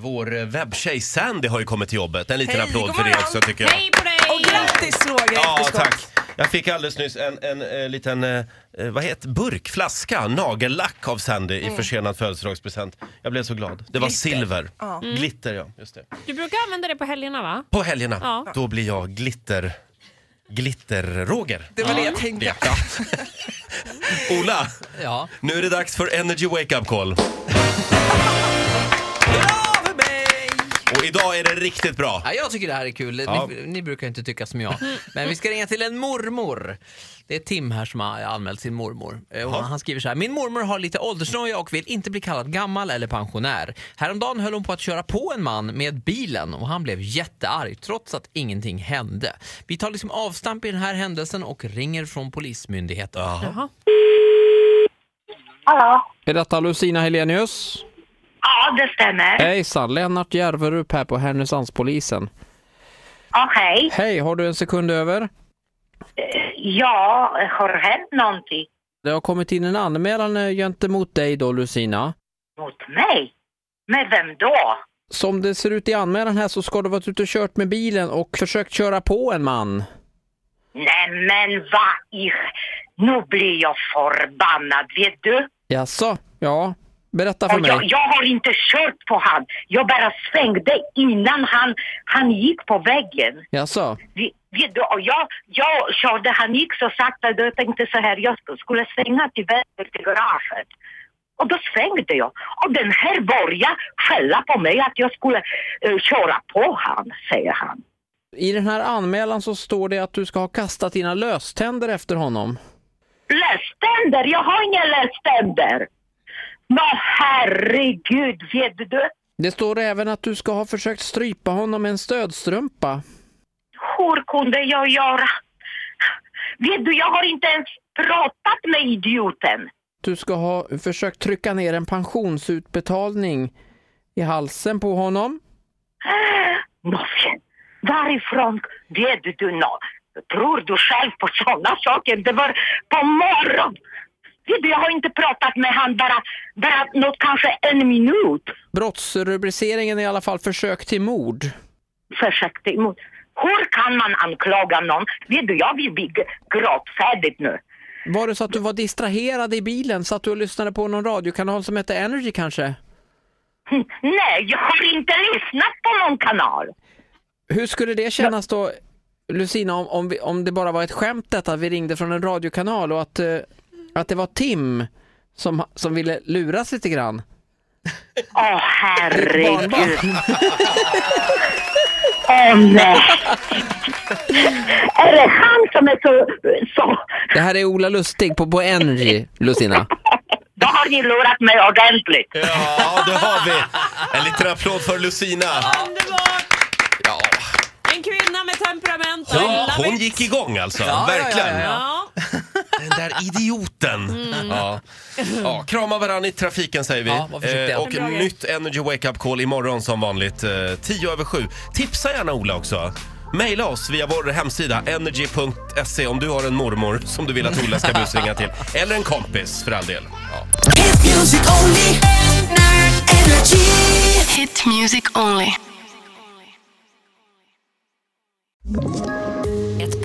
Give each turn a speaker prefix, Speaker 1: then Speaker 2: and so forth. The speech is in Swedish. Speaker 1: vår eh, webbtjej Sandy har ju kommit till jobbet. En liten
Speaker 2: Hej,
Speaker 1: applåd
Speaker 2: god
Speaker 1: för det
Speaker 2: morgon.
Speaker 1: också tycker jag.
Speaker 3: Hej på dig!
Speaker 2: Och grattis Roger i
Speaker 1: Ja,
Speaker 2: efterskott.
Speaker 1: tack. Jag fick alldeles nyss en, en, eh, liten, eh, eh, vad heter burkflaska, nagellack av Sandy i
Speaker 2: Mm.
Speaker 1: försenad födelsedagspresent. Jag blev så glad. Det var silver. Mm.
Speaker 2: Ja. Mm.
Speaker 1: Glitter, ja. Just det.
Speaker 3: Du brukar använda det på helgerna va?
Speaker 1: På helgerna,
Speaker 3: Ja.
Speaker 1: då blir jag glitter... Glitter-Roger.
Speaker 2: Det var det jag tänkte.
Speaker 1: Ja. Ola,
Speaker 4: Ja.
Speaker 1: nu är det dags för Energy Wake Up Call.
Speaker 2: Bra för mig!
Speaker 1: Och idag är det riktigt bra.
Speaker 4: Ja, jag tycker det här är kul.
Speaker 1: Ja.
Speaker 4: Ni, ni brukar ju inte tycka som jag. Men vi ska ringa till en mormor. Det är Tim här som har anmält sin mormor. Eh, Och han skriver så här. Min mormor har lite åldersnoja och vill inte bli kallad gammal eller pensionär. Häromdagen höll hon på att köra på en man med bilen och han blev jättearg trots att ingenting hände. Vi tar liksom avstamp i den här händelsen och ringer från Polismyndigheten.
Speaker 3: Jaha.
Speaker 5: Hallå?
Speaker 6: Är detta Lucina Helenius?
Speaker 5: Ja, det stämmer.
Speaker 6: Hejsan, Lennart Järverup här på Härnösandspolisen.
Speaker 5: Ja, hej.
Speaker 6: Hej, har du en sekund över?
Speaker 5: Ja, har hänt någonting
Speaker 6: Det har kommit in en anmälan eh, gentemot dig då Lucina.
Speaker 5: mot mig? Med vem då?
Speaker 6: Som det ser ut i anmälan här så ska du ha varit ute och kört med bilen och försökt köra på en man.
Speaker 5: Nej, men vad i... Nu blir jag förbannad, vet du?
Speaker 6: Jaså? Ja, berätta för
Speaker 5: Och jag,
Speaker 6: mig.
Speaker 5: jag har inte kört på han. Jag bara svängde innan han, han gick på väggen.
Speaker 6: Jaså?
Speaker 5: Vi- Vet du, och jag, jag körde, han gick så sakta, då jag tänkte så här, jag sk- skulle svänga till vänster till garaget. Och då svängde jag. Och den här började skälla på mig att jag skulle eh, köra på han, säger han.
Speaker 6: I den här anmälan så står det att du ska ha kastat dina löständer efter honom.
Speaker 5: Löständer, jag har inga löständer! Nå herregud, vet du?
Speaker 6: Det står även att du ska ha försökt strypa honom med en stödstrumpa.
Speaker 5: Hur kunde jag göra? Vet du, jag har inte ens pratat med idioten.
Speaker 6: du ska ha försökt trycka ner en pensionsutbetalning i halsen på honom.
Speaker 5: Noffen, varifrån vet du nå? Tror du själv på sådana saker? Det var på morgonen! Vet du, Jag har inte pratat med han bara, bara något, kanske en minut.
Speaker 6: Brottsrubriceringen är i alla fall försök till mord.
Speaker 5: Försökte emot. Hur kan man anklaga någon? Vet du, jag vill bli g- gråtfärdig nu.
Speaker 6: Var det så att du var distraherad i bilen? Satt du och lyssnade på någon radiokanal som hette Energy kanske?
Speaker 5: Hm, Nej, jag har inte lyssnat på någon kanal.
Speaker 6: Hur skulle det kännas då, Lucina, om, om, vi, om det bara var ett skämt detta, att vi ringde från en radiokanal och att, eh, att det var Tim som, som ville luras lite grann?
Speaker 5: Åh, herregud.
Speaker 6: Barnbarn.
Speaker 5: Åh, nej. Är det han som är så... så
Speaker 6: Det här är Ola Lustig på, på Energy, Lucina.
Speaker 5: Då har ni lurat mig ordentligt.
Speaker 1: Ja, det har vi. En liten applåd för Lucina.
Speaker 3: Underbart!
Speaker 1: Ja.
Speaker 3: En kvinna med temperament. I
Speaker 1: Hon,
Speaker 3: love
Speaker 1: hon
Speaker 3: it.
Speaker 1: gick igång alltså,
Speaker 4: ja, ja,
Speaker 1: verkligen.
Speaker 4: ja, Mm.
Speaker 3: Ja.
Speaker 1: Den där idioten. Ja. Ja, krama varandra i trafiken säger vi. Eh,
Speaker 4: Ja, var försiktiga.
Speaker 1: och
Speaker 3: Bra grej.
Speaker 1: nytt Energy Wake Up Call imorgon som vanligt. Eh, 10 över 7. Tipsa gärna Ola också. Maila oss via vår hemsida energy.se om du har en mormor som du vill att Ola ska busringa till. Eller en kompis för all del. Ja.
Speaker 7: Hit music only. Energy. Hit music only.
Speaker 8: Ett